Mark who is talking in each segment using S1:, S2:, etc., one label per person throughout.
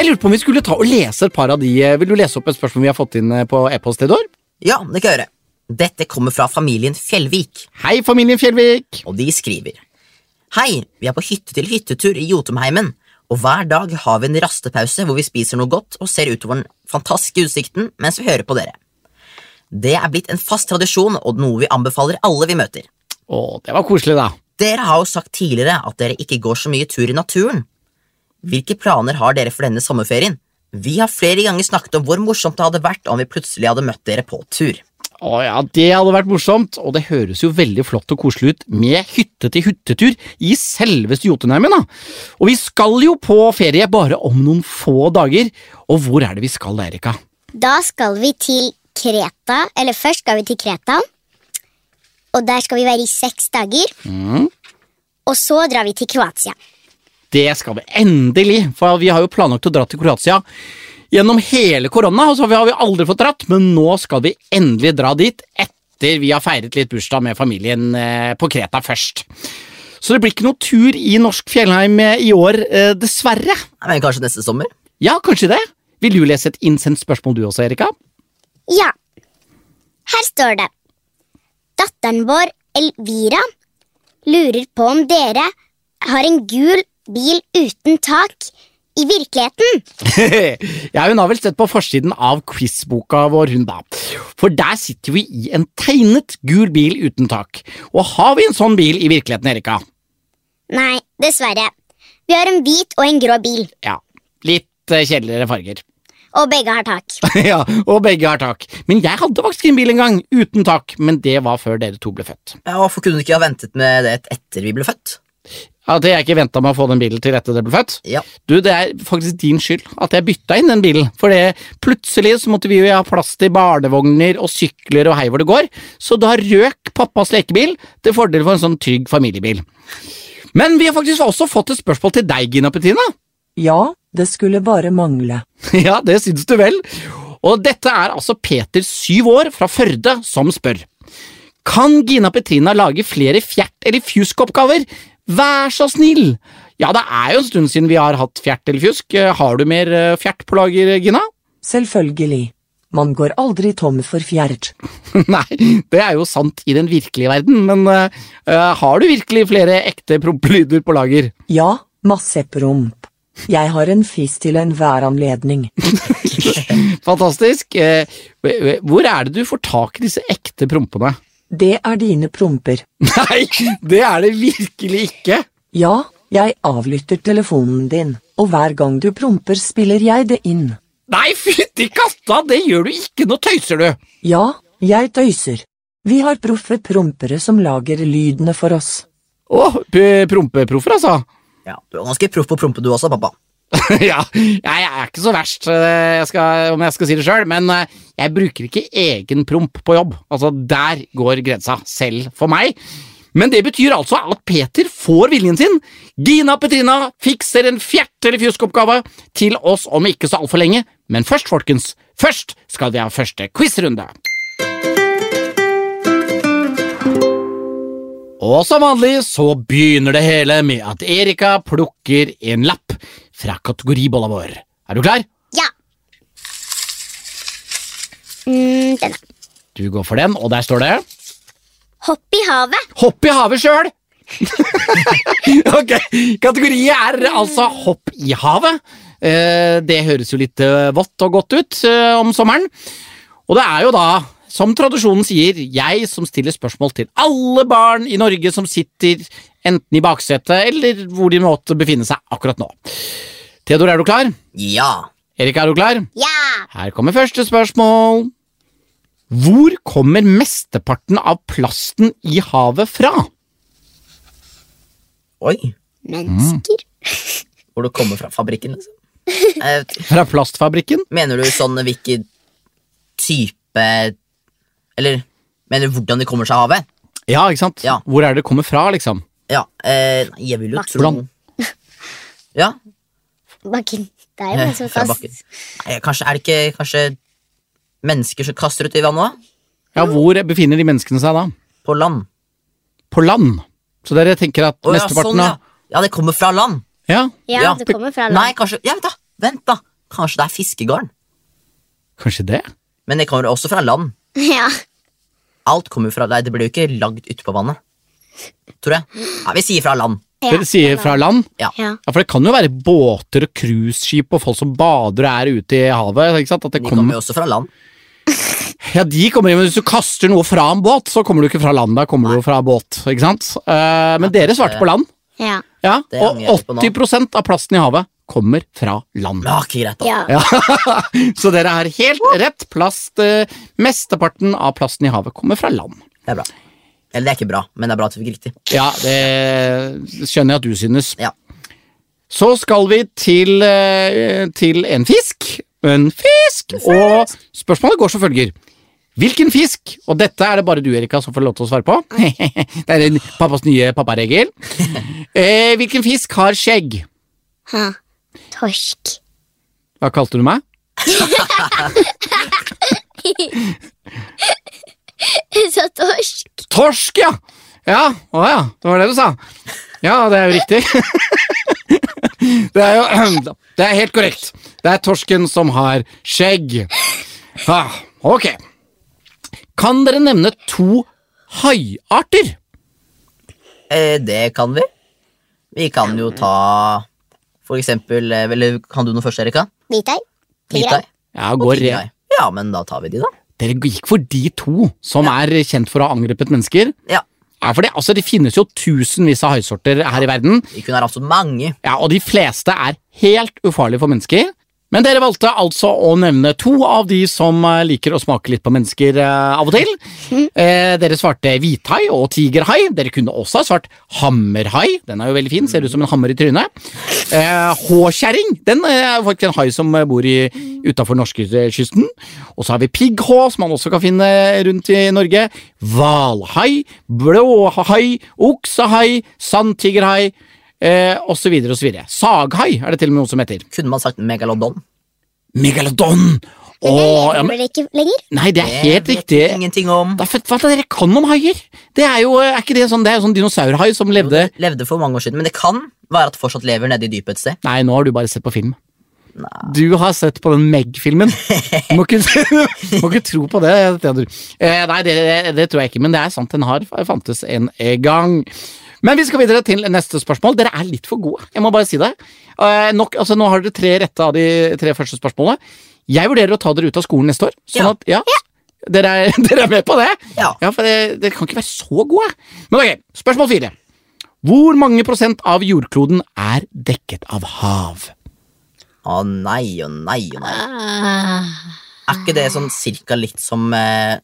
S1: jeg lurte på om vi skulle ta og lese et par av de. eh, Vil du lese opp et spørsmål vi har fått inn eh, på e-post, Theodor?
S2: Ja, det kan jeg gjøre. Dette kommer fra familien Fjellvik,
S1: Hei, familien Fjellvik!
S2: og de skriver Hei, vi er på hytte til hyttetur i Jotunheimen, og hver dag har vi en rastepause hvor vi spiser noe godt og ser utover den fantastiske utsikten mens vi hører på dere. Det er blitt en fast tradisjon og noe vi anbefaler alle vi møter.
S1: Å, det var koselig, da.
S2: Dere har jo sagt tidligere at dere ikke går så mye tur i naturen. Hvilke planer har dere for denne sommerferien? Vi har flere ganger snakket om hvor morsomt det hadde vært om vi plutselig hadde møtt dere på tur.
S1: Å ja, Det hadde vært morsomt, og det høres jo veldig flott og koselig ut med hytte til hyttetur i selveste Jotunheimen. da. Og vi skal jo på ferie bare om noen få dager. Og hvor er det vi skal, Erika?
S3: Da skal vi til Kreta, eller først skal vi til Kreta. Og der skal vi være i seks dager. Og så drar vi til Kroatia.
S1: Det skal vi endelig, for vi har jo planlagt å dra til Kroatia gjennom hele korona, og så har vi aldri fått dratt, men nå skal vi endelig dra dit etter vi har feiret litt bursdag med familien eh, på Kreta først. Så det blir ikke noe tur i norsk fjellheim eh, i år, eh, dessverre.
S2: Nei, Men kanskje neste sommer?
S1: Ja, kanskje det. Vil du lese et innsendt spørsmål du også, Erika?
S3: Ja. Her står det Datteren vår, Elvira, lurer på om dere har en gul bil uten tak i virkeligheten.
S1: ja, hun har vel sett på forsiden av quizboka vår, hun da. For der sitter vi i en tegnet gul bil uten tak. Og har vi en sånn bil i virkeligheten, Erika?
S3: Nei, dessverre. Vi har en hvit og en grå bil,
S1: Ja, litt eh, kjedeligere farger.
S3: og begge har tak.
S1: ja, og begge har tak. Men jeg hadde faktisk en bil en gang, uten tak, men det var før dere to ble født.
S2: Ja, Hvorfor kunne du ikke ha ventet med det etter vi ble født?
S1: At jeg ikke venta med å få den bilen til etter dere ble født?
S2: Ja,
S1: Du, det er faktisk din skyld at jeg bytta inn den bilen. For det, plutselig så måtte vi jo ha plass til barnevogner og sykler og hei hvor det går, så da røk pappas lekebil til fordel for en sånn trygg familiebil. Men vi har faktisk også fått et spørsmål til deg, Gina Petina.
S4: Ja, det skulle bare mangle.
S1: ja, det syns du vel. Og dette er altså Peter, syv år, fra Førde, som spør. Kan Gina Petrina lage flere fjert- eller fjuskoppgaver? Vær så snill! Ja, det er jo en stund siden vi har hatt fjert eller fjusk. Eh, Har du mer eh, fjert på lager, Gina?
S4: Selvfølgelig. Man går aldri tom for fjert.
S1: Nei, det er jo sant i den virkelige verden, men eh, eh, har du virkelig flere ekte prompelyder på lager?
S4: Ja, masse promp. Jeg har en fis til enhver anledning.
S1: Fantastisk. Eh, Hvor er det du får tak i disse ekte prompene?
S4: Det er dine promper.
S1: Nei, det er det virkelig ikke!
S4: Ja, jeg avlytter telefonen din, og hver gang du promper spiller jeg det inn.
S1: Nei, fytti katta, det gjør du ikke, nå tøyser du!
S4: Ja, jeg tøyser. Vi har proffe prompere som lager lydene for oss.
S1: Å, p- prompeproffer, altså.
S2: ja. Du er ganske proff på å prompe du også, pappa.
S1: ja, jeg er ikke så verst, eh, jeg skal, om jeg skal si det sjøl, men eh, jeg bruker ikke egen promp på jobb. Altså, der går grensa, selv for meg. Men det betyr altså at Peter får viljen sin. Gina Petrina fikser en fjert- eller fjuskoppgave til oss om ikke så altfor lenge. Men først, folkens, først skal vi ha første quizrunde. Og som vanlig så begynner det hele med at Erika plukker en lapp fra kategoribolla vår. Er du klar?
S3: Ja. Mm, denne.
S1: Du går for den, og der står det
S3: Hopp i havet.
S1: Hopp i havet sjøl! ok, Kategoriet er altså hopp i havet. Eh, det høres jo litt eh, vått og godt ut eh, om sommeren. Og det er jo da, som tradisjonen sier, jeg som stiller spørsmål til alle barn i Norge som sitter enten i baksetet eller hvor de måtte befinne seg akkurat nå. Theodor, er du klar?
S2: Ja.
S1: Erik, er du klar?
S3: Ja.
S1: Her kommer første spørsmål. Hvor kommer mesteparten av plasten i havet fra?
S2: Oi.
S3: Mennesker.
S2: Hvor du kommer fra fabrikken, liksom. Eh,
S1: Fra plastfabrikken?
S2: Mener du sånn hvilken type Eller mener du hvordan de kommer seg av havet?
S1: Ja, ikke sant?
S2: Ja.
S1: Hvor er det det kommer fra, liksom?
S2: Ja, eh, nei, jeg vil jo tro
S1: Hvordan?
S2: Ja,
S3: Bakken. Det er jo
S2: eh,
S3: en som
S2: fra Mm. bakken. Nei, kanskje er det ikke kanskje mennesker som kaster ut i vannet? da?
S1: Ja, Hvor befinner de menneskene seg da?
S2: På land.
S1: På land. Så dere tenker at
S2: Å, ja,
S1: mesteparten
S2: sånn, ja. ja, det kommer fra land.
S1: av ja.
S3: Ja,
S2: Ja.
S3: det kommer fra
S2: Nei,
S3: land.
S2: kanskje Ja, vent, da! Vent da Kanskje det er fiskegarn.
S1: Kanskje det?
S2: Men det kommer også fra land.
S3: Ja.
S2: Alt kommer fra Nei, det blir jo ikke lagd ute på vannet. Tror jeg. Ja, vi sier fra land.
S3: Ja,
S1: Dere sier fra land?
S2: Ja.
S3: Ja.
S1: Ja, For det kan jo være båter og cruiseskip og folk som bader og er ute i havet. ikke sant? At det
S2: De kommer
S1: kommer...
S2: jo også fra land.
S1: Ja, de kommer inn, men Hvis du kaster noe fra en båt, så kommer du ikke fra land. Da kommer du jo fra båt. ikke sant? Eh, men dere svarte på land.
S3: Ja.
S1: Ja,
S2: Det
S1: Og
S2: angrer jeg på nå.
S1: 80 av plasten i havet kommer fra land.
S2: Ja, ikke greit, da.
S3: ja.
S1: Ja. Så dere har helt rett. Plast, eh, Mesteparten av plasten i havet kommer fra land.
S2: Det er bra. Eller det er ikke bra, men det er bra at vi fikk riktig.
S1: Ja, det skjønner jeg at du synes.
S2: Ja.
S1: Så skal vi til, eh, til en fisk. En fisk! Og spørsmålet går som følger. Hvilken fisk? Og dette er det bare du, Erika, som får lov til å svare på. Det er en pappas nye papparegel. Eh, hvilken fisk har skjegg?
S3: Ha. Torsk.
S1: Hva kalte du meg?
S3: Så torsk.
S1: Torsk, ja! Ja, å ja, det var det du sa. Ja, det er jo riktig. Det er jo Det er helt korrekt. Det er torsken som har skjegg. Ah, ok. Kan dere nevne to haiarter?
S2: Eh, det kan vi. Vi kan jo ta for eksempel eh, Eller kan du noe først, Erika?
S3: Hvithai.
S2: Hvithai?
S3: Tigerhai.
S1: Ja,
S2: Og
S1: går,
S2: tigerhai. Ja, men da tar vi de, da.
S1: dere gikk for de to som er kjent for å ha angrepet mennesker.
S2: Ja,
S1: Ja, for det, altså, det finnes jo tusenvis av haisorter her i verden.
S2: Vi kunne ha hatt så mange.
S1: Ja, og de fleste er helt ufarlige for mennesker. Men dere valgte altså å nevne to av de som eh, liker å smake litt på mennesker eh, av og til. Eh, dere svarte hvithai og tigerhai. Dere kunne også ha svart hammerhai. Den er jo veldig fin, ser ut som en hammer i trynet. Eh, Håkjerring. Den eh, er faktisk en hai som eh, bor utafor norskekysten. Og så har vi pigghå, som man også kan finne eh, rundt i Norge. Hvalhai, blåhai, oksehai, sandtigerhai eh, og så videre og så videre. Saghai er det til og med noe som heter.
S2: Kunne man sagt megalodon?
S1: Megalodon!
S3: Men det
S1: Åh, ja,
S3: lever
S1: men,
S3: vel ikke lenger?
S1: nei, det er
S2: Det
S1: helt
S2: vet
S1: riktig.
S2: jeg Ingenting om.
S1: Da, vet- hva er det dere kan om haier? Det er jo er ikke det sånn, det er jo sånn dinosaurhai som levde
S2: Levde for mange år siden, men det kan være at det fortsatt lever nede i dypet et sted.
S1: Nei, nå har du bare sett på film. Du har sett på den Meg-filmen. Du må ikke, du må ikke tro på det. Theodor. Eh, nei, det, det, det tror jeg ikke, men det er sant. Den har fantes en gang. Men vi skal videre til neste spørsmål. Dere er litt for gode. jeg må bare si det. Eh, nok, altså, nå har dere tre rette av de tre første spørsmålene. Jeg vurderer å ta dere ut av skolen neste år. Sånn
S2: Ja.
S1: at, ja, Dere, er, dere er med på det?
S2: Ja.
S1: for eh, Dere kan ikke være så gode. Men ok, Spørsmål fire. Hvor mange prosent av jordkloden er dekket av hav?
S2: Å nei, å nei, å nei. Er ikke det sånn cirka litt som eh,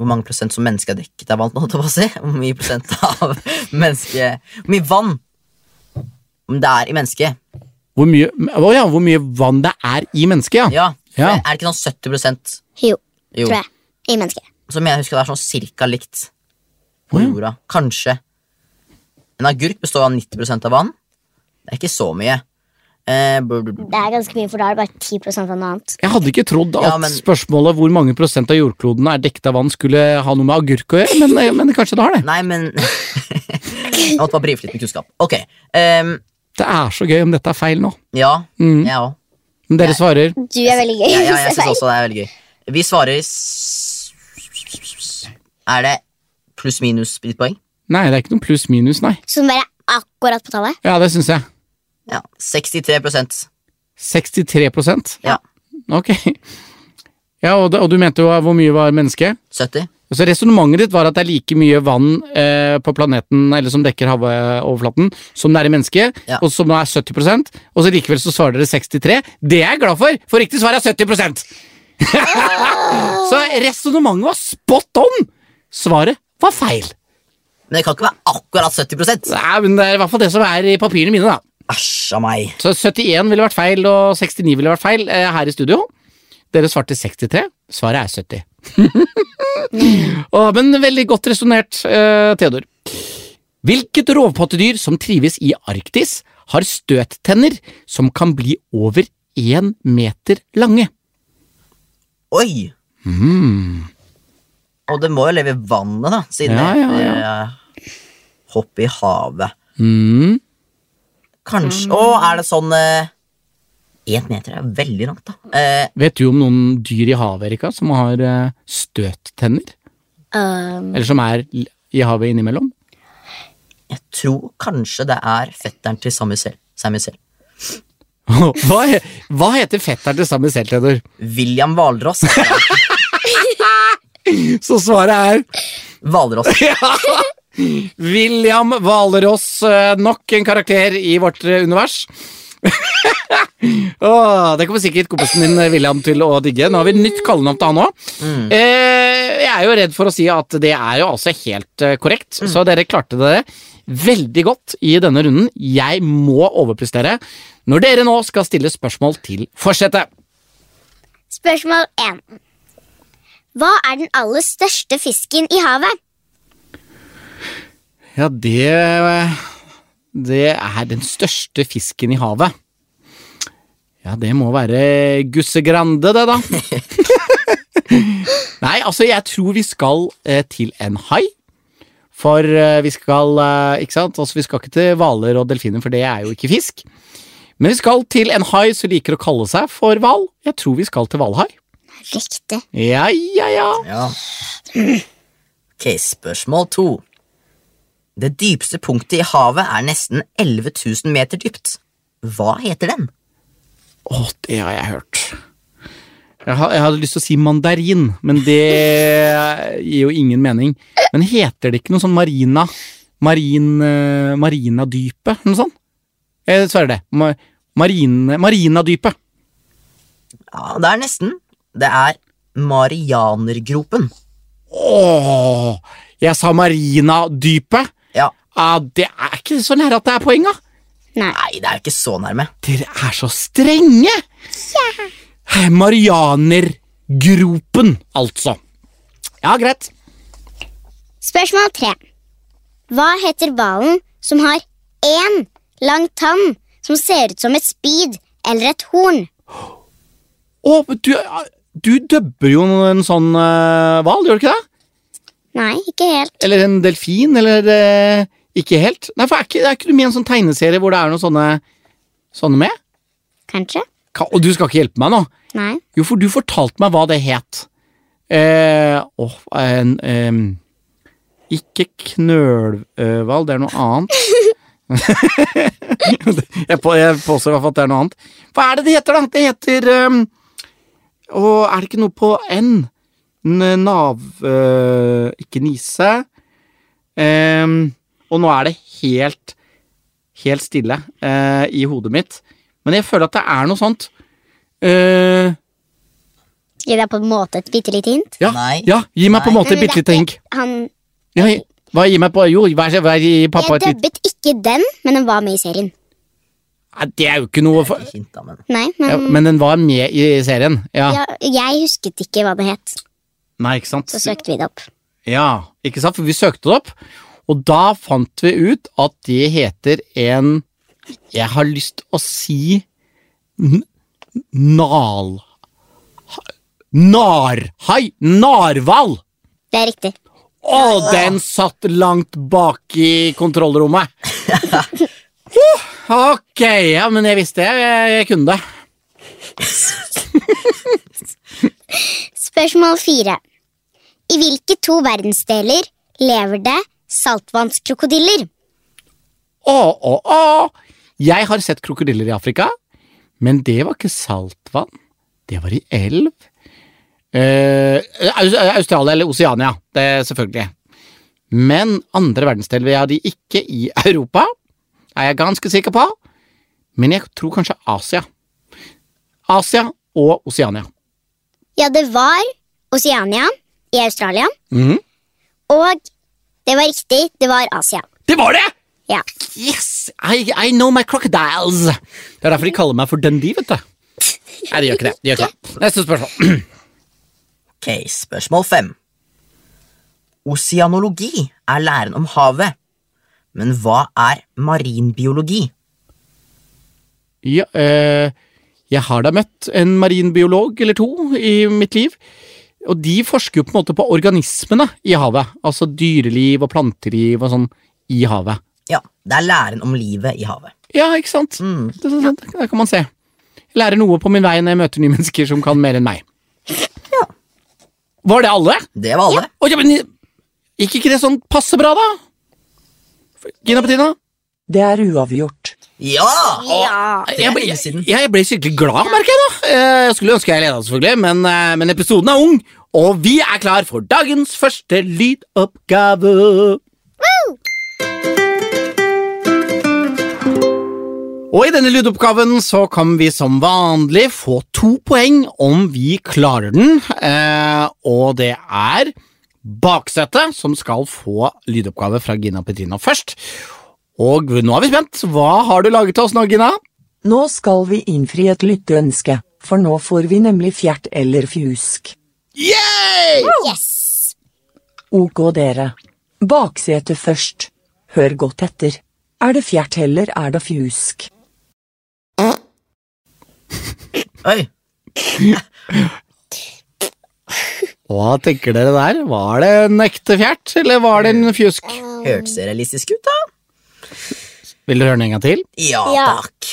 S2: hvor mange prosent som mennesket er dekket av vann? holdt jeg på å si? Hvor mye prosent av mennesket Hvor mye vann om det er i mennesket?
S1: Hvor mye, å ja, hvor mye vann det er i mennesket, ja.
S2: Ja.
S1: Ja.
S2: Er det ikke sånn 70
S3: Jo,
S2: Jo.
S3: tror jeg. I mennesket.
S2: Som jeg husker det er sånn cirka likt på
S1: Å, ja.
S2: jorda. Kanskje. En agurk består av 90 av vann. Det er ikke så mye. Eh, bl- bl- bl-
S3: Det er ganske mye, for da er det bare 10 av noe annet.
S1: Jeg hadde ikke trodd at
S2: Ja, men-
S1: spørsmålet hvor mange prosent av jordkloden er dekket av vann, skulle ha noe med agurk å gjøre, men, eh, men kanskje det har det.
S2: Nei, men Jeg måtte bare brife litt med kunnskap. Ok. ehm,
S1: Det er så gøy om dette er feil nå.
S2: ja,
S1: Mm.
S2: jeg òg.
S1: Men dere svarer
S3: Du er veldig gøy.
S2: Ja, ja, jeg
S3: hvis
S2: syns
S3: jeg
S2: også det er veldig gøy. Vi svarer s- Er det pluss-minus litt poeng?
S1: Nei, det er ikke noe pluss-minus, nei.
S3: sier. Som bare er akkurat på tallet.
S1: Ja, det syns jeg.
S2: Ja. 63
S1: 63
S2: Ja.
S1: Ok. Ja, og, det, og du mente jo eh, hvor mye var mennesket?
S2: 70?
S1: Så Resonnementet ditt var at det er like mye vann eh, på planeten eller som dekker havoverflaten, som det er i mennesket,
S2: Ja.
S1: og som er 70 og så likevel så svarer dere 63. Det er jeg glad for, for riktig svar er 70 Så resonnementet var spot on! Svaret var feil.
S2: Men det kan ikke være akkurat 70
S1: Nei, men Det er i hvert fall det som er i papirene mine, da.
S2: Æsj av meg.
S1: Så 71 ville vært feil, og 69 ville vært feil eh, her i studio. Dere svarte 63. Svaret er 70. Å, men veldig godt resonnert, eh, Theodor. Hvilket rovpattedyr som trives i Arktis, har støttenner som kan bli over én meter lange?
S2: Oi! Og det må jo leve i vannet, da, siden
S1: Mm. Ja, ja,
S2: det er eh, hopp i havet.
S1: Mm.
S2: Kanskje Å, er det sånn eh, Én meter er veldig langt, da. Eh,
S1: Vet du om noen dyr i havet Erika, som har eh, støttenner?
S3: Um,
S1: Eller som er l- i havet innimellom?
S2: jeg tror kanskje det er fetteren til Samuel. Samuel.
S1: Hva, he- hva heter fetteren til Sami selv, Theodor?
S2: William Hvalross.
S1: Så svaret er
S2: Hvalross.
S1: William Hvalross. eh, Nok en karakter i vårt eh, univers. Åh, det kommer sikkert kompisen din eh, William til å digge. Nå har vi nytt kallenavn til han òg. Eh, jeg er jo redd for å si at det er jo altså helt eh, korrekt, så dere klarte det veldig godt i denne runden. Jeg må overprestere når dere nå skal stille spørsmål til forsetet.
S3: spørsmål 1. Hva er den aller største fisken i havet?
S1: Ja, det Det er den største fisken i havet. Ja, det må være Gusse Grande, det, da. Nei, altså, jeg tror vi skal eh, til en hai. For eh, vi skal eh, Ikke sant? Altså, vi skal ikke til hvaler og delfiner, for det er jo ikke fisk. Men vi skal til en hai som liker å kalle seg for hval. Jeg tror vi skal til hvalhai.
S3: Riktig.
S1: Ja, ja, ja.
S2: Ja. Ok, spørsmål to. Det dypeste punktet i havet er nesten 11 000 meter dypt. Hva heter den?
S1: Å, det har jeg hørt. Jeg, ha, jeg hadde lyst til å si mandarin, men det gir jo ingen mening. Men heter det ikke noe sånn marina? Marin, eh, marinadypet? Noe sånt? Jeg sverger det. Ma, marine, marinadypet.
S2: Ja, det er nesten. Det er Marianergropen.
S1: Åh, jeg sa marinadypet!
S2: Ja.
S1: Ah, det er ikke så nære at det er poeng, da!
S3: Nei.
S2: Nei, det er jo ikke så nærme.
S1: Dere er så strenge! Marianergropen, altså. Ja, greit.
S3: Spørsmål 3. Hva heter hvalen som har én lang tann som ser ut som et spyd eller et horn?
S1: Å, men du, du dubber jo en sånn eh, hval, gjør du ikke det?
S3: Nei, ikke helt.
S1: Eller en delfin, eller eh, ikke helt? Nei, for er ikke, er ikke du med i en sånn tegneserie hvor det er noen sånne, sånne med?
S3: Kanskje?
S1: Ka- og du skal ikke hjelpe meg nå?
S3: Nei.
S1: Jo, for du fortalte meg hva det het. Eh, åh, en, em, ikke knølhval, det er noe annet. jeg, på, jeg påstår i hvert fall at det er noe annet. Hva er det det heter, da? Det heter em, Å, er det ikke noe på N? N- Nav... eh, ikke nise. Em, og nå er det helt, helt stille eh, i hodet mitt. Men jeg føler at det er noe sånt. Eh,
S3: Gi deg på en måte et bitte lite hint.
S1: ja,
S2: Nei.
S1: ja, gi meg på en
S2: Nei.
S1: måte et
S3: Men
S1: bitte
S3: det-
S1: lite hink.
S3: Han,
S1: Ja, gi- hva, gi meg på, jo, vær så vær, gi pappa
S3: jeg
S1: et lite
S3: dubbet ikke den, men den var med i serien.
S1: Nei, Det er jo ikke noe for,
S2: Hint, da, men.
S3: Nei,
S1: ja,
S3: men
S1: Men den var med i serien. Ja.
S3: ja, jeg husket ikke hva det het.
S1: Nei, ikke sant?
S3: Så søkte vi det opp.
S1: Ja, ikke sant? For vi søkte det opp, og da fant vi ut at det heter en Jeg har lyst å si n- nal... Narhai! Narhval!
S3: Det er riktig.
S1: Å, den satt langt bak i kontrollrommet! Huh, ok, ja, men jeg visste det. Jeg, jeg kunne det.
S3: Spørsmål fire. I hvilke to verdensdeler lever det saltvannskrokodiller?
S1: Å, å, å! Jeg har sett krokodiller i Afrika, men det var ikke saltvann. Det var i elv. Eh, Aus- Australia eller Oseania, det er selvfølgelig. Men andre verdensdel vi hadde ikke i Europa, er jeg ganske sikker på. Men jeg tror kanskje Asia. Asia og Oseania.
S3: Ja, det var Oceania i Australia. Og det var riktig, det var Asia.
S1: Det var det!
S3: Ja.
S1: Yes! I, I know my crocodiles! Det er derfor de kaller meg for Dundee, vet du. Nei, de gjør ikke det. De gjør ikke det. Neste spørsmål.
S2: Ok, spørsmål fem. Oseanologi er læren om havet, men hva er marinbiologi?
S1: Ja, eh, jeg har da møtt en marinbiolog eller to i mitt liv, og de forsker jo på en måte på organismene i havet. Altså dyreliv og planteliv og sånn i havet.
S2: Ja, det er læren om livet i havet.
S1: Ja, ikke sant? Det, det, det, der kan man se. Jeg lærer noe på min vei når jeg møter nye mennesker som kan mer enn meg. Var det alle?
S2: Det var alle.
S1: Å, ja, men Gikk ikke det sånn passe bra, da? Gina Petina?
S4: Det er uavgjort.
S2: Ja!
S3: Ja.
S2: er
S1: Jeg, ble-
S2: lenge
S1: jeg,
S2: siden.
S1: jeg ble skikkelig glad, merker jeg nå. Eh, Jeg skulle ønske jeg leda, selvfølgelig, men, eh, men episoden er ung. Og vi er klar for dagens første lydoppgave. Og i denne lydoppgaven så kan vi som vanlig få to poeng om vi klarer den. Eh, og det er baksetet som skal få lydoppgave fra Gina Petrina først. Og nå er vi spent. Hva har du laget til oss nå, Gina?
S4: Nå skal vi innfri et lytteønske, for nå får vi nemlig fjert eller fjusk.
S1: Yay!
S3: Yes!
S4: Ok, dere. Baksetet først. Hør godt etter. Er det fjert eller er det fjusk?
S2: Oi,
S1: Hva tenker dere der? Var det en ekte fjert, eller var det en fjusk?
S2: hørtes det realistisk ut, da?
S1: Vil dere høre den en gang til?
S2: Ja,
S3: Ja.
S2: takk.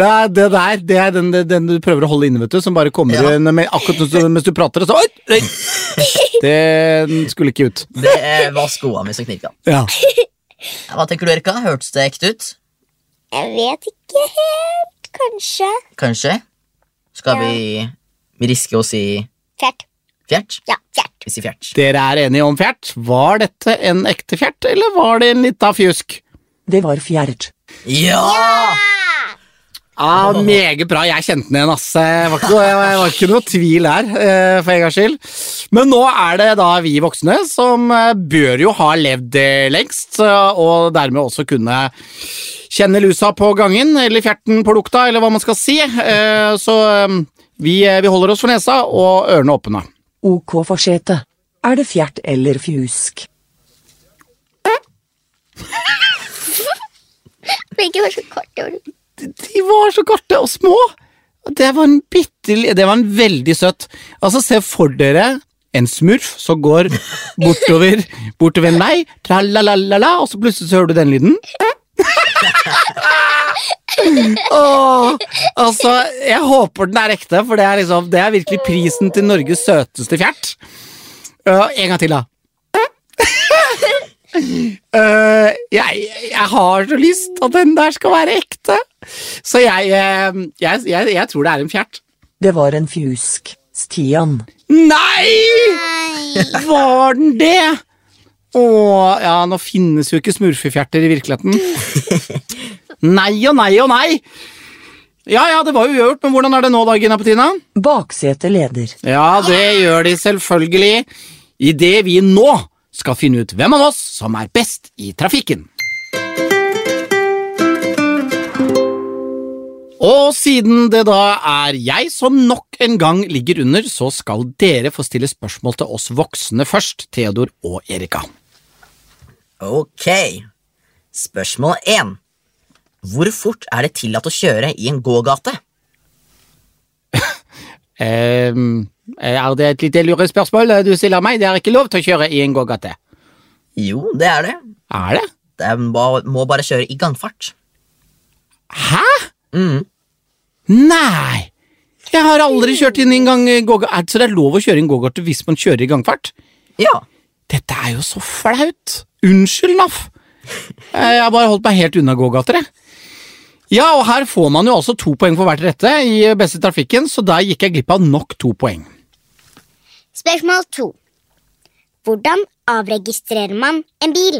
S1: Det er det der, det er den, den du prøver å holde inne, vet du, som bare kommer
S2: Ja.
S1: inn med, akkurat mens du, mens du prater. Og så, oi, oi. Den skulle ikke ut.
S2: Det eh, var skoa mi som knirka.
S1: Ja.
S2: Ja, Hva tenker du, Erika? Hørtes det ekte ut?
S3: Jeg vet ikke helt, kanskje.
S2: Kanskje? Skal vi riske å si
S3: Fjert.
S2: fjert?
S3: Ja, fjert.
S2: Vi sier fjert.
S1: Dere er enige om fjert. Var dette en ekte fjert, eller var det en lita fjusk?
S4: Det var fjert.
S2: Ja!
S1: Ah, meget bra. Jeg kjente den igjen, ass. Det var ikke noe, jeg var ikke noe tvil der, eh, for en gangs skyld. Men nå er det da vi voksne som eh, bør jo ha levd eh, lengst, eh, og dermed også kunne kjenne lusa på gangen, eller fjerten på lukta, eller hva man skal si. Eh, Så eh, vi, eh, vi holder oss for nesa og ørene åpne.
S4: Ok, forsetet. Er det fjert eller fjusk?
S3: Begge var så korte ord.
S1: de var så korte og små. Det var en bitte li- Det var en veldig søtt. Altså, se for dere en smurf som går bortover, bortover en vei, tra-la-la-la-la, og så plutselig så hører du den lyden. Åh, altså, jeg håper den er ekte, for det er, liksom, det er virkelig prisen til Norges søteste fjert. Ja, en gang til, da. Eh, jeg, jeg har så lyst at den der skal være ekte. Så jeg, eh, jeg, jeg, jeg tror det er en fjert.
S4: Det var en fjusk. Stian.
S1: Nei!
S3: Nei.
S1: Var den det? Å, ja, nå finnes jo ikke smurfefjerter i virkeligheten. Nei og nei og nei. Ja, ja, det var jo uavgjort, men hvordan er det nå, da, Gina Petina?
S4: Baksetet leder.
S1: Ja, det gjør de selvfølgelig. Idet vi nå skal finne ut hvem av oss som er best i trafikken. Og siden det da er jeg som nok en gang ligger under, så skal dere få stille spørsmål til oss voksne først, Theodor og Erika.
S2: Ok. Spørsmål én. Hvor fort er det tillatt å kjøre i en gågate?
S1: Eh, er det et lite lurespørsmål du stiller meg? Det er ikke lov til å kjøre i en gågate.
S2: Jo, det er det.
S1: Er det?
S2: Det er ba- må bare kjøre i gangfart.
S1: Hæ?
S2: Mm.
S1: Nei! Jeg har aldri kjørt inn i en gang gågate. Er det- Så det er lov å kjøre inn gågate hvis man kjører i gangfart?
S2: Ja.
S1: Dette er jo så flaut! Unnskyld, NAF. Eh, Jeg har bare holdt meg helt unna gågater, jeg. Ja, og her får man jo altså to poeng for hvert rette i eh, Beste trafikken, så der gikk jeg glipp av nok to poeng.
S3: Spørsmål to. Hvordan avregistrerer man en bil?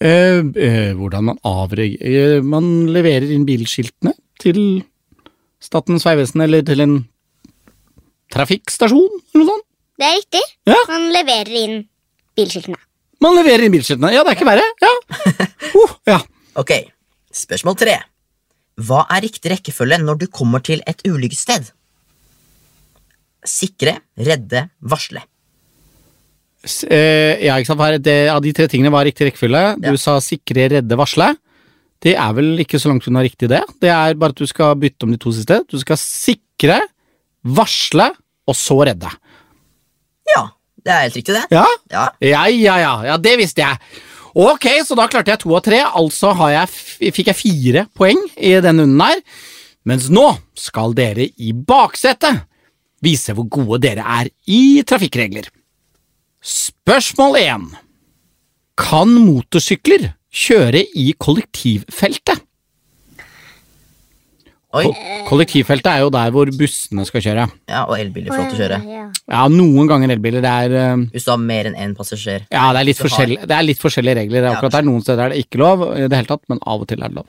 S1: Eh, eh, hvordan man avreg... Eh, man leverer inn bilskiltene til Statens vegvesen eller til en trafikkstasjon, eller noe sånt.
S3: Det er riktig.
S1: Ja.
S3: Man leverer inn bilskiltene.
S1: Man leverer inn bilskiltene. Ja, det er ikke verre. Ja. Uh, ja.
S2: Ok, spørsmål tre. Hva er riktig rekkefølge når du kommer til et ulykkessted? Sikre, redde, varsle.
S1: S- eh, ja, ikke sant. Hva er det, av de tre tingene var riktig rekkefølge. Du
S2: Ja.
S1: sa sikre, redde, varsle. Det er vel ikke så langt unna riktig, det. Det er bare at du skal bytte om de to siste. Du skal sikre, varsle og så redde.
S2: Ja, det er helt riktig, det.
S1: Ja?
S2: Ja,
S1: Ja, ja, ja. ja det visste jeg. Ok, så da klarte jeg to av tre. Altså har jeg, f- fikk jeg fire poeng i den runden her. Mens nå skal dere i baksetet vise hvor gode dere er i trafikkregler. Spørsmål 1. Kan motorsykler kjøre i kollektivfeltet?
S2: Oi.
S1: Ko kollektivfeltet er jo der hvor bussene skal kjøre.
S2: Ja, og elbiler er flott å kjøre.
S3: Ja.
S1: Ja, noen ganger elbiler. Det er eh,
S2: Hvis du har mer enn én passasjer.
S1: Ja, det er litt,
S2: Så har-
S1: forskjell, det er litt forskjellige regler. Akkurat der Noen steder er det ikke lov, i det hele tatt, men av og til er det lov.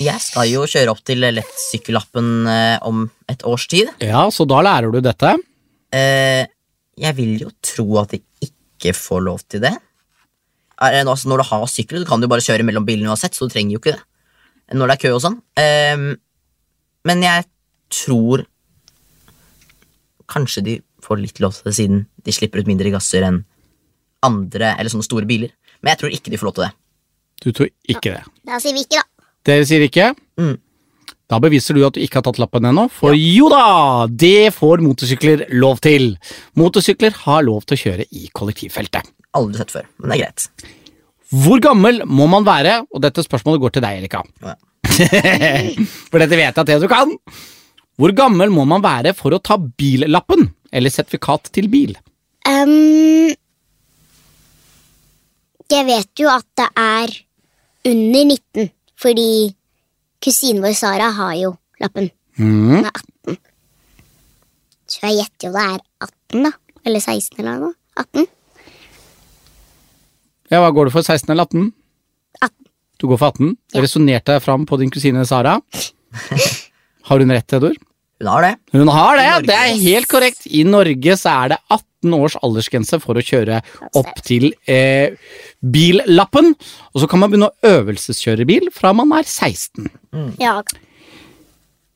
S2: Jeg skal jo kjøre opp til lettsykkellappen eh, om et års tid.
S1: Ja, Så da lærer du dette.
S2: Eh, jeg vil jo tro at jeg ikke får lov til det. Er, det noe- altså, når du har sykkel, så kan du bare kjøre mellom bilene uansett, så du trenger jo ikke det. Når det er kø og sånn. Eh, men jeg tror kanskje de får litt lov til det siden de slipper ut mindre gasser enn andre eller sånne store biler. Men jeg tror ikke de får lov til det.
S1: Du tror ikke det.
S3: Da sier vi ikke, da.
S1: Dere sier ikke?
S2: Mm.
S1: Da beviser du at du ikke har tatt lappen ennå, for jo da, det får motorsykler lov til. Motorsykler har lov til å kjøre i kollektivfeltet.
S2: Aldri sett før, men det er greit.
S1: Hvor gammel må man være? Og dette spørsmålet går til deg, Erika.
S2: Ja.
S1: for dette vet jeg at det du kan. Hvor gammel må man være for å ta billappen, eller sertifikat til bil?
S3: Ehm, jeg vet jo at det er under 19, fordi kusinen vår Sara har jo lappen. Hun er 18. Så jeg gjetter jo det er 18, da. Eller 16 eller noe. 18.
S1: Ja, hva går du for? 16 eller 18?
S3: 18.
S1: Du går for 18? Ja. Resonnerte jeg fram på din kusine Sara? Har hun rett, Theodor?
S2: Hun har det.
S1: Hun har det!
S2: Norge.
S1: Det er helt korrekt. I Norge så er det 18 års aldersgrense for å kjøre opp til eh, billappen. Og så kan man begynne å øvelseskjøre bil fra man er 16.
S2: Mm.
S3: Ja.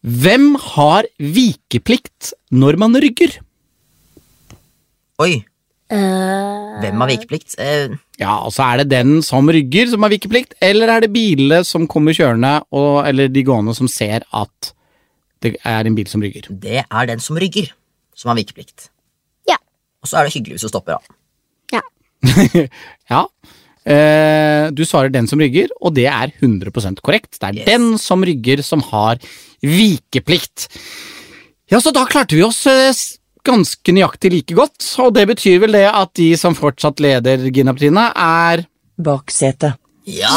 S1: Hvem har vikeplikt når man rygger?
S2: Oi,
S3: Øh,
S2: hvem har vikeplikt? Eh,
S1: Ja, og så er det den som rygger som har vikeplikt, eller er det bilene som kommer kjørende, og, eller de gående som ser at det er en bil som rygger?
S2: det er den som rygger, som har vikeplikt.
S3: ja.
S2: Og så er det hyggelig hvis du stopper, da.
S3: Ja.
S1: ja. Eh, du svarer den som rygger, og det er 100 korrekt. Det er
S2: Yes.
S1: den som rygger som har vikeplikt. Ja, så da klarte vi oss eh, s- ganske nøyaktig like godt, og det betyr vel det at de som fortsatt leder Gina Petrine, er
S4: Baksete.
S2: Ja!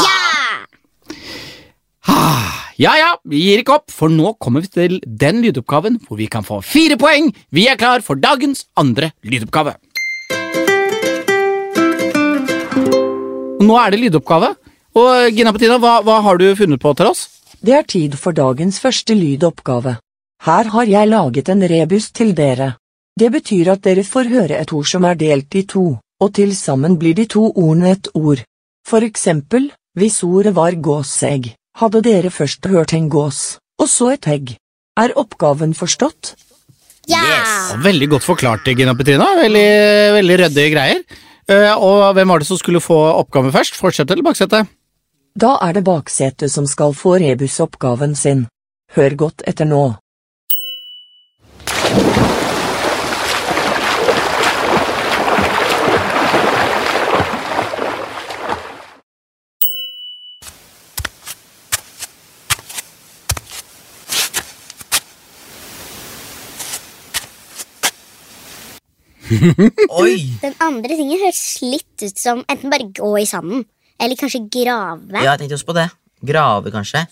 S1: Ja ja, vi gir ikke opp, for nå kommer vi til den lydoppgaven hvor vi kan få fire poeng. Vi er klar for dagens andre lydoppgave. Og Nå er det lydoppgave. Og Gina Petina, hva, hva har du funnet på til oss?
S4: Det er tid for dagens første lydoppgave. Her har jeg laget en rebus til dere. Det betyr at dere får høre et ord som er delt i to, og til sammen blir de to ordene et ord. For eksempel, hvis ordet var gåsegg, hadde dere først hørt en gås, og så et egg. Er oppgaven forstått?
S3: Ja.
S2: Yes.
S1: Veldig godt forklart, Gina Petrina. Veldig, veldig ryddige greier. Eh, og hvem var det som skulle få oppgaven først? Fortsette eller baksette?
S4: Da er det baksetet som skal få rebusoppgaven sin. Hør godt etter nå.
S2: Oi!
S3: Den andre tingen høres litt ut som enten bare gå i sanden, eller kanskje grave.
S2: Ja, jeg tenkte også på det. Grave, kanskje.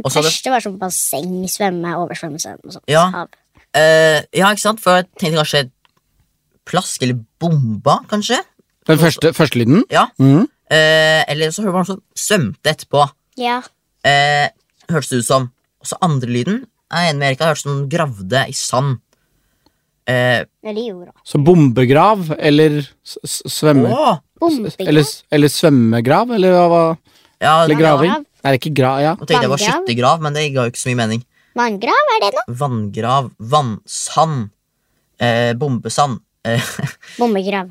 S2: Og så
S3: det
S2: det,
S3: første var sånn basseng, svømme, oversvømmelse. noe sånt.
S2: Ja.
S3: Hav.
S2: eh, ja, ikke sant? For jeg tenkte kanskje plask eller bomba, kanskje?
S1: Den første, første lyden?
S2: Ja.
S1: Mhm.
S2: Eh, eller så hører man sånn svømte etterpå.
S3: Ja.
S2: Eh, hørtes det ut som. Og så andre lyden. Jeg er enig med Erika, det hørtes ut som noen gravde i sand. Eh,
S3: Eller jorda.
S1: Så bombegrav eller s s svømme...
S2: å!
S1: Eller,
S3: Bombegrav.
S1: s- eller svømmegrav, eller hva? hva-
S2: Ja,
S1: Eller
S2: nå
S1: graving?
S3: grav.
S1: Er det ikke gra... Ja.
S2: tenkte jeg det var
S3: Vanngrav.
S2: skyttergrav, men det ga jo ikke så mye mening.
S3: Vanngrav, er det noe?
S2: Vanngrav, vannsand, eh, bombesand. Eh,
S3: Bombegrav.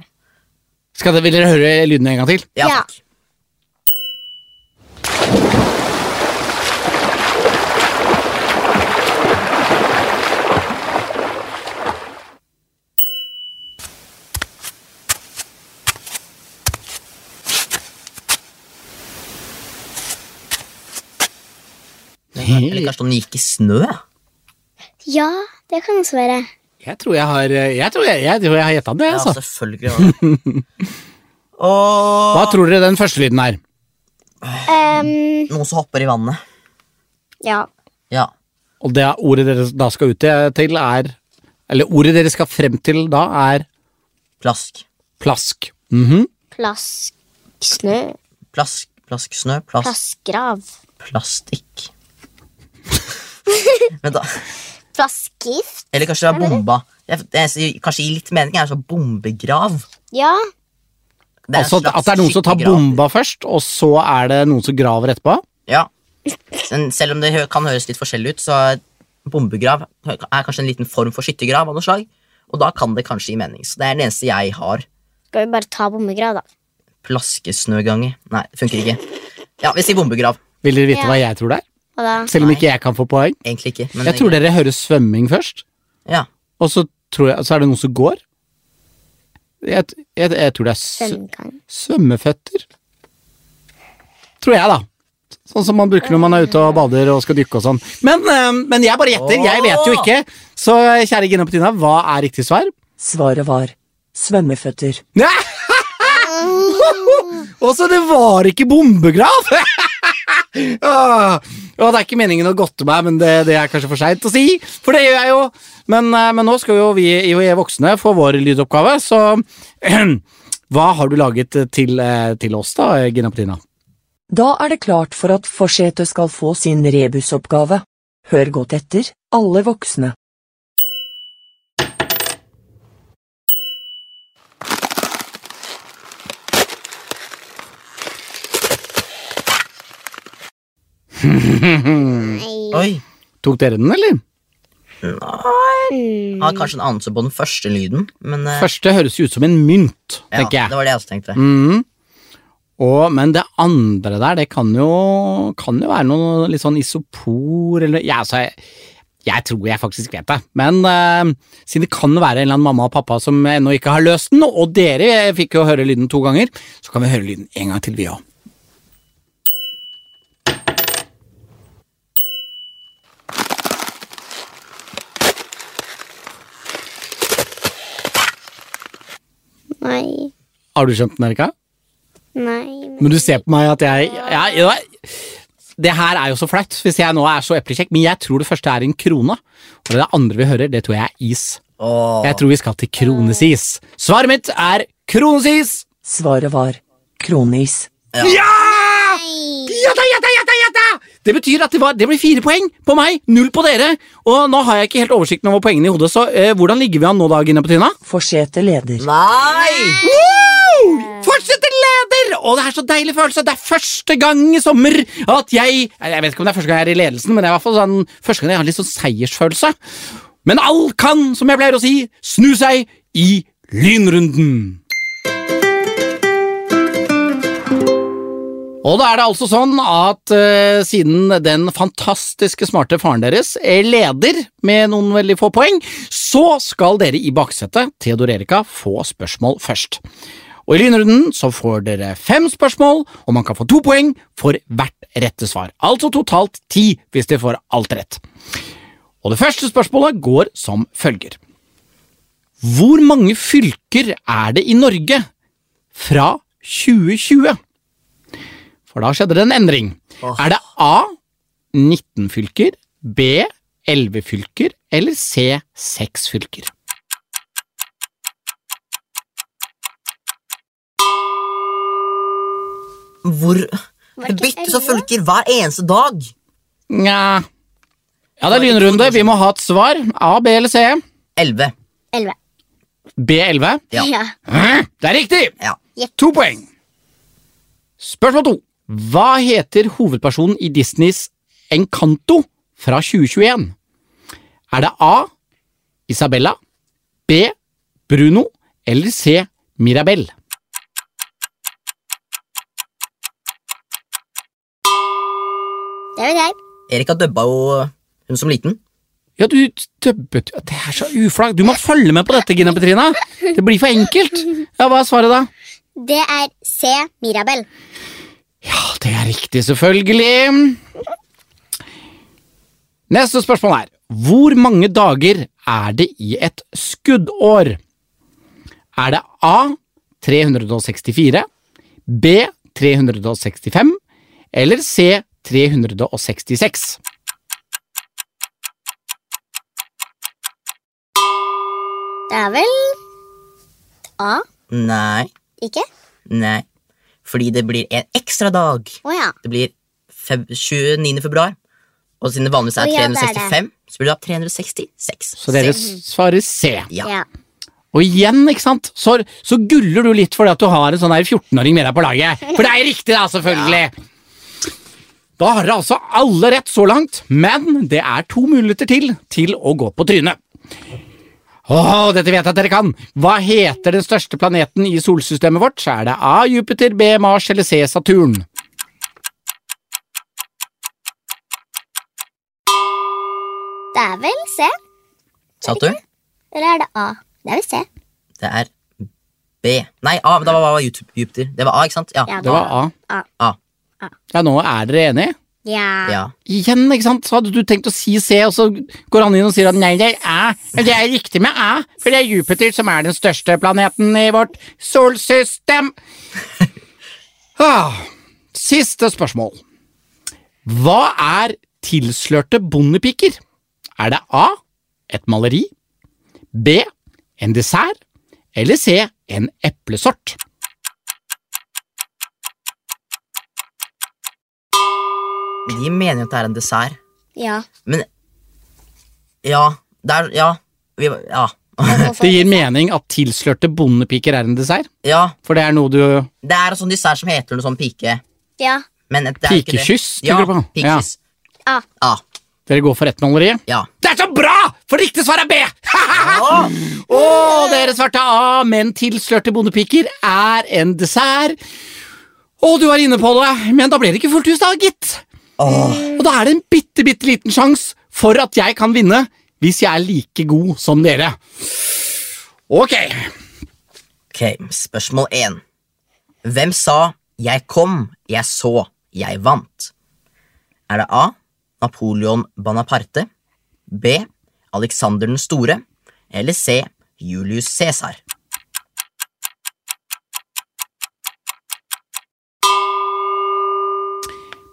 S1: Skal dere, vil dere høre lyden en gang til?
S2: ja,
S3: Ja.
S2: takk. Eller kanskje om den gikk i snø?
S3: Ja, det kan også være.
S1: Jeg tror jeg har eh, Jeg tror jeg, jeg, tror jeg har gjetta det,
S2: Ja,
S1: altså.
S2: selvfølgelig. var det.
S1: Hva
S2: Og
S1: tror dere den første lyden er?
S3: Ehm,
S2: noen som hopper i vannet.
S3: ja.
S2: Ja.
S1: Og det ordet dere da skal ut til, er Eller ordet dere skal frem til da, er
S2: Plask.
S1: plask. Mhm.
S3: Plask. Snø.
S2: Plask, plask snø, plask,
S3: Plaskgrav.
S2: plastikk. Men da,
S3: Plaskgift.
S2: eller kanskje det var bomba. Jeg, jeg, sier- kanskje gir litt mening er sånn bombegrav.
S3: Ja.
S2: Det er en
S1: Altså at,
S2: slags
S1: at det er noen som tar
S2: skikkegrav.
S1: bomba først, og så er det noen som graver etterpå?
S2: Ja. Men selv om det hø- kan høres litt forskjellig ut, så er bombegrav hø- er kanskje en liten form for skyttergrav av noe slag. Og da kan det kanskje gi mening. Så det er den eneste jeg har.
S3: Skal vi bare ta bombegrav, da?
S2: Plaskesnøgange. Nei, det funker ikke. Ja, vi sier bombegrav.
S1: Vil dere vite
S3: Ja.
S1: hva jeg tror det er?
S3: Og da
S1: Selv om ikke jeg kan få poeng.
S2: Egentlig ikke. Men
S1: Jeg tror dere hører svømming først,
S2: Ja.
S1: og så, tror jeg, så er det noen som går. Jeg, t- jeg, jeg tror det er s-
S3: Søvngang.
S1: svømmeføtter. Tror jeg, da. Sånn som man bruker når man er ute og bader og skal dykke og sånn. Men, eh, men jeg bare gjetter, jeg vet jo ikke. Så eh, kjære Gina Petina, hva er riktig svar?
S4: Svaret var svømmeføtter.
S1: Og så det var ikke bombegrav! Åh, og det er ikke meningen å godte meg, men det, det er kanskje for seint å si. For det gjør jeg jo. Men, eh, men nå skal jo vi IOE voksne få vår lydoppgave, så hva har du laget til, eh, til oss, da, Gina Petina?
S4: Da er det klart for at Forsete skal få sin rebusoppgave. Hør godt etter, alle voksne.
S1: Mm.
S3: Nei.
S2: Oi.
S1: Tok dere den, eller?
S3: Mm.
S2: Har kanskje en anelse på den første lyden, men eh,
S1: Første høres jo ut som en mynt,
S2: ja,
S1: tenker jeg.
S2: det var det jeg også tenkte.
S1: Mhm. Og, men det andre der, det kan jo, kan jo være noe litt sånn isopor eller ja, altså, jeg, jeg tror jeg faktisk vet det. Men eh, siden det kan være en eller annen mamma og pappa som ennå ikke har løst den, og dere fikk jo høre lyden to ganger, så kan vi høre lyden en gang til, vi òg.
S3: Nei.
S1: Har du skjønt den, Erika?
S3: Nei.
S1: Men du ser på meg at jeg, jeg, jeg Det her er jo så flaut, hvis jeg nå er så eplekjekk, men jeg tror det første er en krone. Og det andre vi hører, det tror jeg er is.
S2: Åh,
S1: Jeg tror vi skal til kronesis. Svaret mitt er kronesis!
S4: Svaret var kronis.
S1: Ja! Gjetta, gjetta, gjetta, gjetta! Det betyr at det, var, det blir fire poeng på meg, null på dere. Og nå har jeg ikke helt oversikten over poengene i hodet, så eh, hvordan ligger vi an nå da, Gina Petina?
S4: Forsete leder.
S2: Nei!
S1: Wow! Fortsetter leder! Og det er så deilig følelse. Det er første gang i sommer at jeg Jeg vet ikke om det er første gang jeg er i ledelsen, men det er i hvert fall sånn, første gang jeg har litt sånn seiersfølelse. Men all kan, som jeg pleier å si, snu seg i lynrunden. Og da er det altså sånn at eh, siden den fantastiske smarte faren deres er leder med noen veldig få poeng, så skal dere i baksetet, Theodor Erika, få spørsmål først. Og I lynrunden så får dere fem spørsmål, og man kan få to poeng for hvert rette svar. Altså totalt ti hvis dere får alt rett. Og det første spørsmålet går som følger. Hvor mange fylker er det i Norge fra 2020? For da skjedde det en endring. Er det A 19 fylker, B 11 fylker eller C 6 fylker?
S2: Hvor
S3: Var
S2: Det
S3: det
S2: byttes og
S3: elleve?
S2: fylker hver eneste dag!
S1: Nja Ja, det er lynrunde. Vi må ha et svar. A, B eller C.
S2: Elleve.
S3: 11.
S1: B11.
S2: Ja.
S1: Det er riktig!
S2: Ja.
S1: To poeng. Spørsmål to. Hva heter hovedpersonen i Disneys Encanto fra 2021? Er det A. Isabella, B. Bruno eller C. Mirabel?
S3: Det vet jeg.
S2: Erika dubba jo hun som liten.
S1: Ja, du døbbet Det er så uflaks. Du må følge med på dette, Gina Petrina. Det blir for enkelt. Ja, Hva er svaret, da?
S3: Det er C. Mirabel.
S1: Ja, det er riktig, selvfølgelig. Neste spørsmål er Hvor mange dager er det i et skuddår? Er det A 364, B 365 eller C 366?
S3: Det er vel A,
S2: Nei,
S3: ikke?
S2: nei. Fordi det blir en ekstra dag.
S3: Å ja.
S2: Det blir feb 29. februar. Og siden det vanligvis er
S3: Å ja, det er det.
S2: 365, så blir det da 366.
S1: Så dere svarer C.
S2: Ja.
S3: ja.
S1: Og igjen, ikke sant, så, så guller du litt fordi at du har en sånn her 14-åring med deg på laget. For det er riktig, da, selvfølgelig! Da har dere altså alle rett så langt, men det er to muligheter til til å gå på trynet. Åh, dette vet jeg at dere kan! Hva heter den største planeten i solsystemet vårt? Er det A. Jupiter, B. Mars eller C. Saturn?
S3: Det er vel C.
S2: Saturn?
S3: Eller er det A? Det er vel C.
S2: Det er B. Nei, A. men Da var, var Jup- Jupiter. Det var A, ikke sant? Ja.
S3: Ja,
S1: Det var A.
S3: A.
S2: A.
S1: Ja, nå er dere enige?
S3: Ja.
S2: Ja.
S1: Igjen, ikke sant, så hadde du tenkt å si C, og så går han inn og sier at nei, det er Æ. Men det er riktig med Æ, for det er Jupiter som er den største planeten i vårt solsystem. Ah, siste spørsmål. Hva er tilslørte bondepiker? Er det A. Et maleri. B. En dessert. Eller C. En eplesort.
S2: De mener jo at det er en dessert.
S3: ja.
S2: Men Ja. Det er Ja. Vi, ja.
S1: Det gir mening at tilslørte bondepiker er en dessert,
S2: ja.
S1: for det er noe du
S2: Det er en sånn dessert som heter noe sånn pike.
S3: Ja.
S2: Men det er ikke det.
S1: Pikekyss,
S2: Ja,
S1: tenker du på?
S2: pikekyss.
S3: A.
S2: A.
S1: Dere går for ett maleri?
S2: Ja.
S1: Det er så bra! For riktig svar er B!
S2: Å,
S1: Å, dere svarte A, men tilslørte bondepiker er en dessert. Å, du var inne på det, men da ble det ikke fullt hus, da, gitt. Og da er det en bitte, bitte liten sjanse for at jeg kan vinne hvis jeg er like god som dere. Ok.
S2: Ok, spørsmål 1. Hvem sa 'jeg kom, jeg så, jeg vant'? Er det A. Napoleon Bonaparte? B. Alexander den store? Eller C. Julius Cæsar?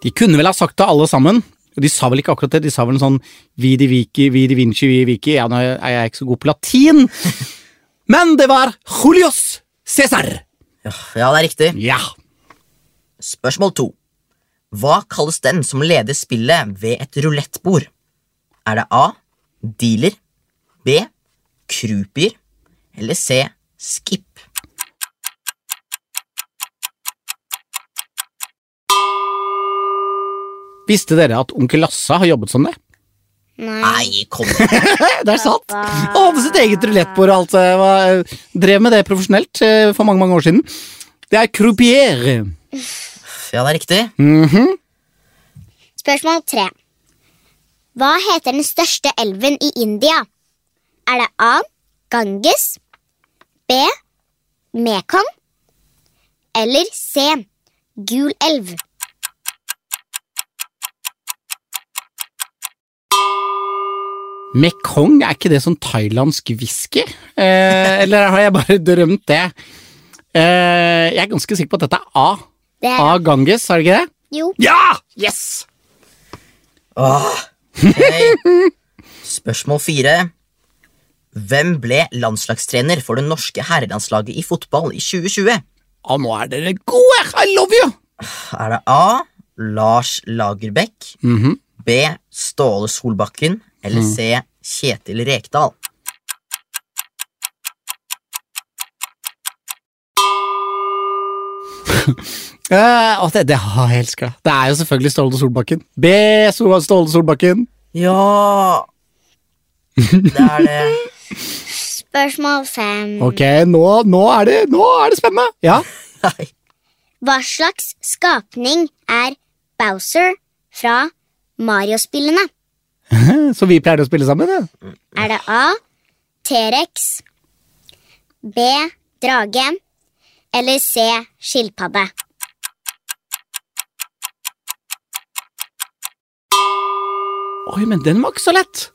S1: De kunne vel ha sagt det, alle sammen. Og De sa vel ikke akkurat det, de sa vel en sånn Vidi Vici, Vidi Vinci, Vidi Vici Ja, nå er jeg ikke så god på latin. Men det var Julius Cæsar!
S2: Ja, det er riktig.
S1: Ja.
S2: Spørsmål 2. Hva kalles den som leder spillet ved et rulettbord? Er det A. Dealer? B. Croupier? Eller C. Skip?
S1: Visste dere at onkel Lasse har jobbet som det?
S3: Nei.
S2: Nei, kom igjen.
S1: Det er sant! Og hadde sitt eget rulettbord og alt. eh, var- Drev med det profesjonelt eh, for mange mange år siden. Det er croupier.
S2: Ja, det er riktig.
S3: Spørsmål tre. Hva heter den største elven i India? Er det A. Ganges, B. Mekong eller C. Gul elv?
S1: Mekong, er ikke det sånn thailandsk whisky? Eh, eller har jeg bare drømt det? Eh, jeg er ganske sikker på at dette er A.
S3: Det er
S1: A Ganges, er det ikke det?
S3: Jo.
S1: Ja! Yes!
S2: Åh, ok. Spørsmål fire. Hvem ble landslagstrener for det norske herrelandslaget i fotball i 2020?
S1: Å, nå er dere gode! I love you!
S2: Er det A. Lars Lagerbäck?
S1: Mhm.
S2: B. Ståle Solbakken? Eller C. Kjetil Rekdal?
S1: Eh, og det, det har jeg elska. Det er jo selvfølgelig Ståle Solbakken. B. Sol- Ståle Solbakken.
S2: Ja Det er det.
S3: Spørsmål fem.
S1: Ok, nå, nå, er det, nå er det spennende! Ja.
S2: Nei.
S3: Hva slags skapning er Bowser fra Mario-spillene?
S1: Så vi pleier å spille sammen? Ja.
S3: Er det A. T-rex B. Drage Eller C. Skilpadde
S1: Oi, men den var ikke så lett.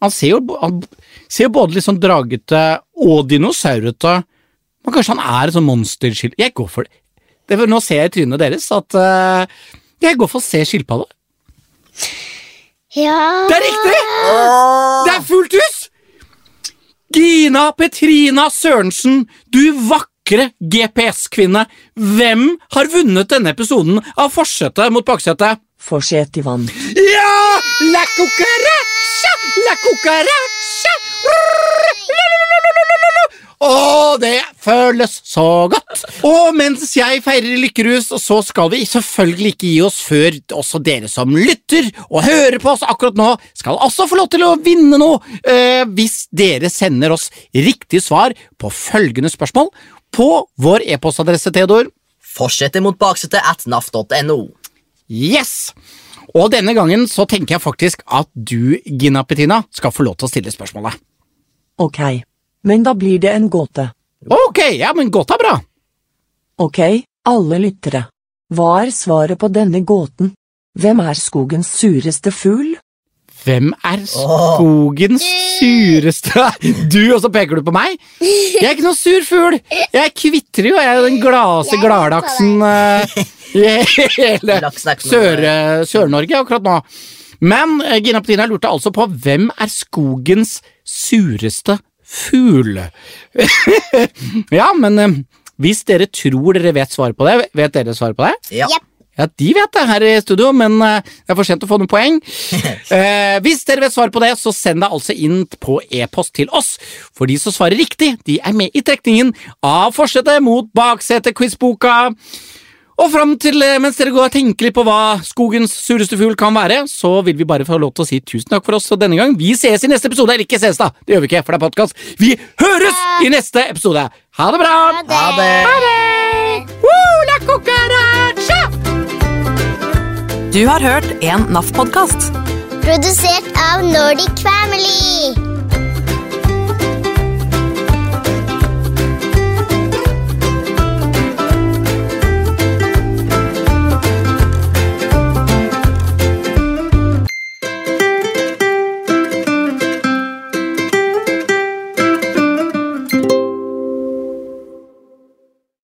S1: Han ser jo, han ser jo både litt sånn dragete og dinosaurete. Men kanskje han er et sånn monsterskilt... Jeg går for det. det er for nå ser jeg i trynet deres at eh, Jeg går for å se skilpadde.
S3: Ja
S1: Det er riktig! Det er fullt hus! Gina Petrina Sørensen, du vakre GPS-kvinne. Hvem har vunnet denne episoden av Forsetet mot baksetet?
S4: Fortsett i vann.
S1: Ja! La cucaracha! La cucaracha! Å, det føles så godt! Og mens jeg feirer lykkerus, så skal vi selvfølgelig ikke gi oss før også dere som lytter og hører på oss akkurat nå, skal også få lov til å vinne noe eh, hvis dere sender oss riktig svar på følgende spørsmål på vår e-postadresse, Theodor.
S2: Fortsetter mot baksetet at naf.no.
S1: Yes! Og denne gangen så tenker jeg faktisk at du, Gina Petina, skal få lov til å stille spørsmålet.
S4: Ok. Men da blir det en gåte.
S1: Ok, ja, men godt er bra.
S4: Ok, alle lyttere. Hva er svaret på denne gåten? Hvem er skogens sureste fugl?
S1: Hvem er skogens sureste Du, og så peker du på meg? Jeg er ikke noen sur fugl. Jeg kvitrer jo, jeg er den gladeste
S3: Jeg er
S1: gladlaksen eh, i hele
S2: Laksen er ikke noe-
S1: Sør, eh, Sør-Norge akkurat nå. Men eh, Gina Petina lurte altså på hvem er skogens sureste fugl? ja, men eh, hvis dere tror dere vet svaret på det, vet dere svaret på det?
S2: Ja.
S3: Jepp.
S1: Ja, de vet det her i studio, men eh, det er for sent å få noen poeng. Eh, hvis dere vet svaret på det, så send det altså inn på e-post til oss. For de som svarer riktig, de er med i trekningen av Forsetet mot Baksetet-quizboka. Og fram til eh, mens dere går og tenker litt på hva skogens sureste fugl kan være, så vil vi bare få lov til å si tusen takk for oss denne gang. Vi sees i neste episode. Eller ikke sees, da. Det gjør vi ikke, for det er podkast. Vi høres i neste episode. Ha det bra!
S2: Ha det!
S1: Woo, la cucaracha!
S5: Du har hørt en NAF-podkast.
S3: Produsert av Nordic Family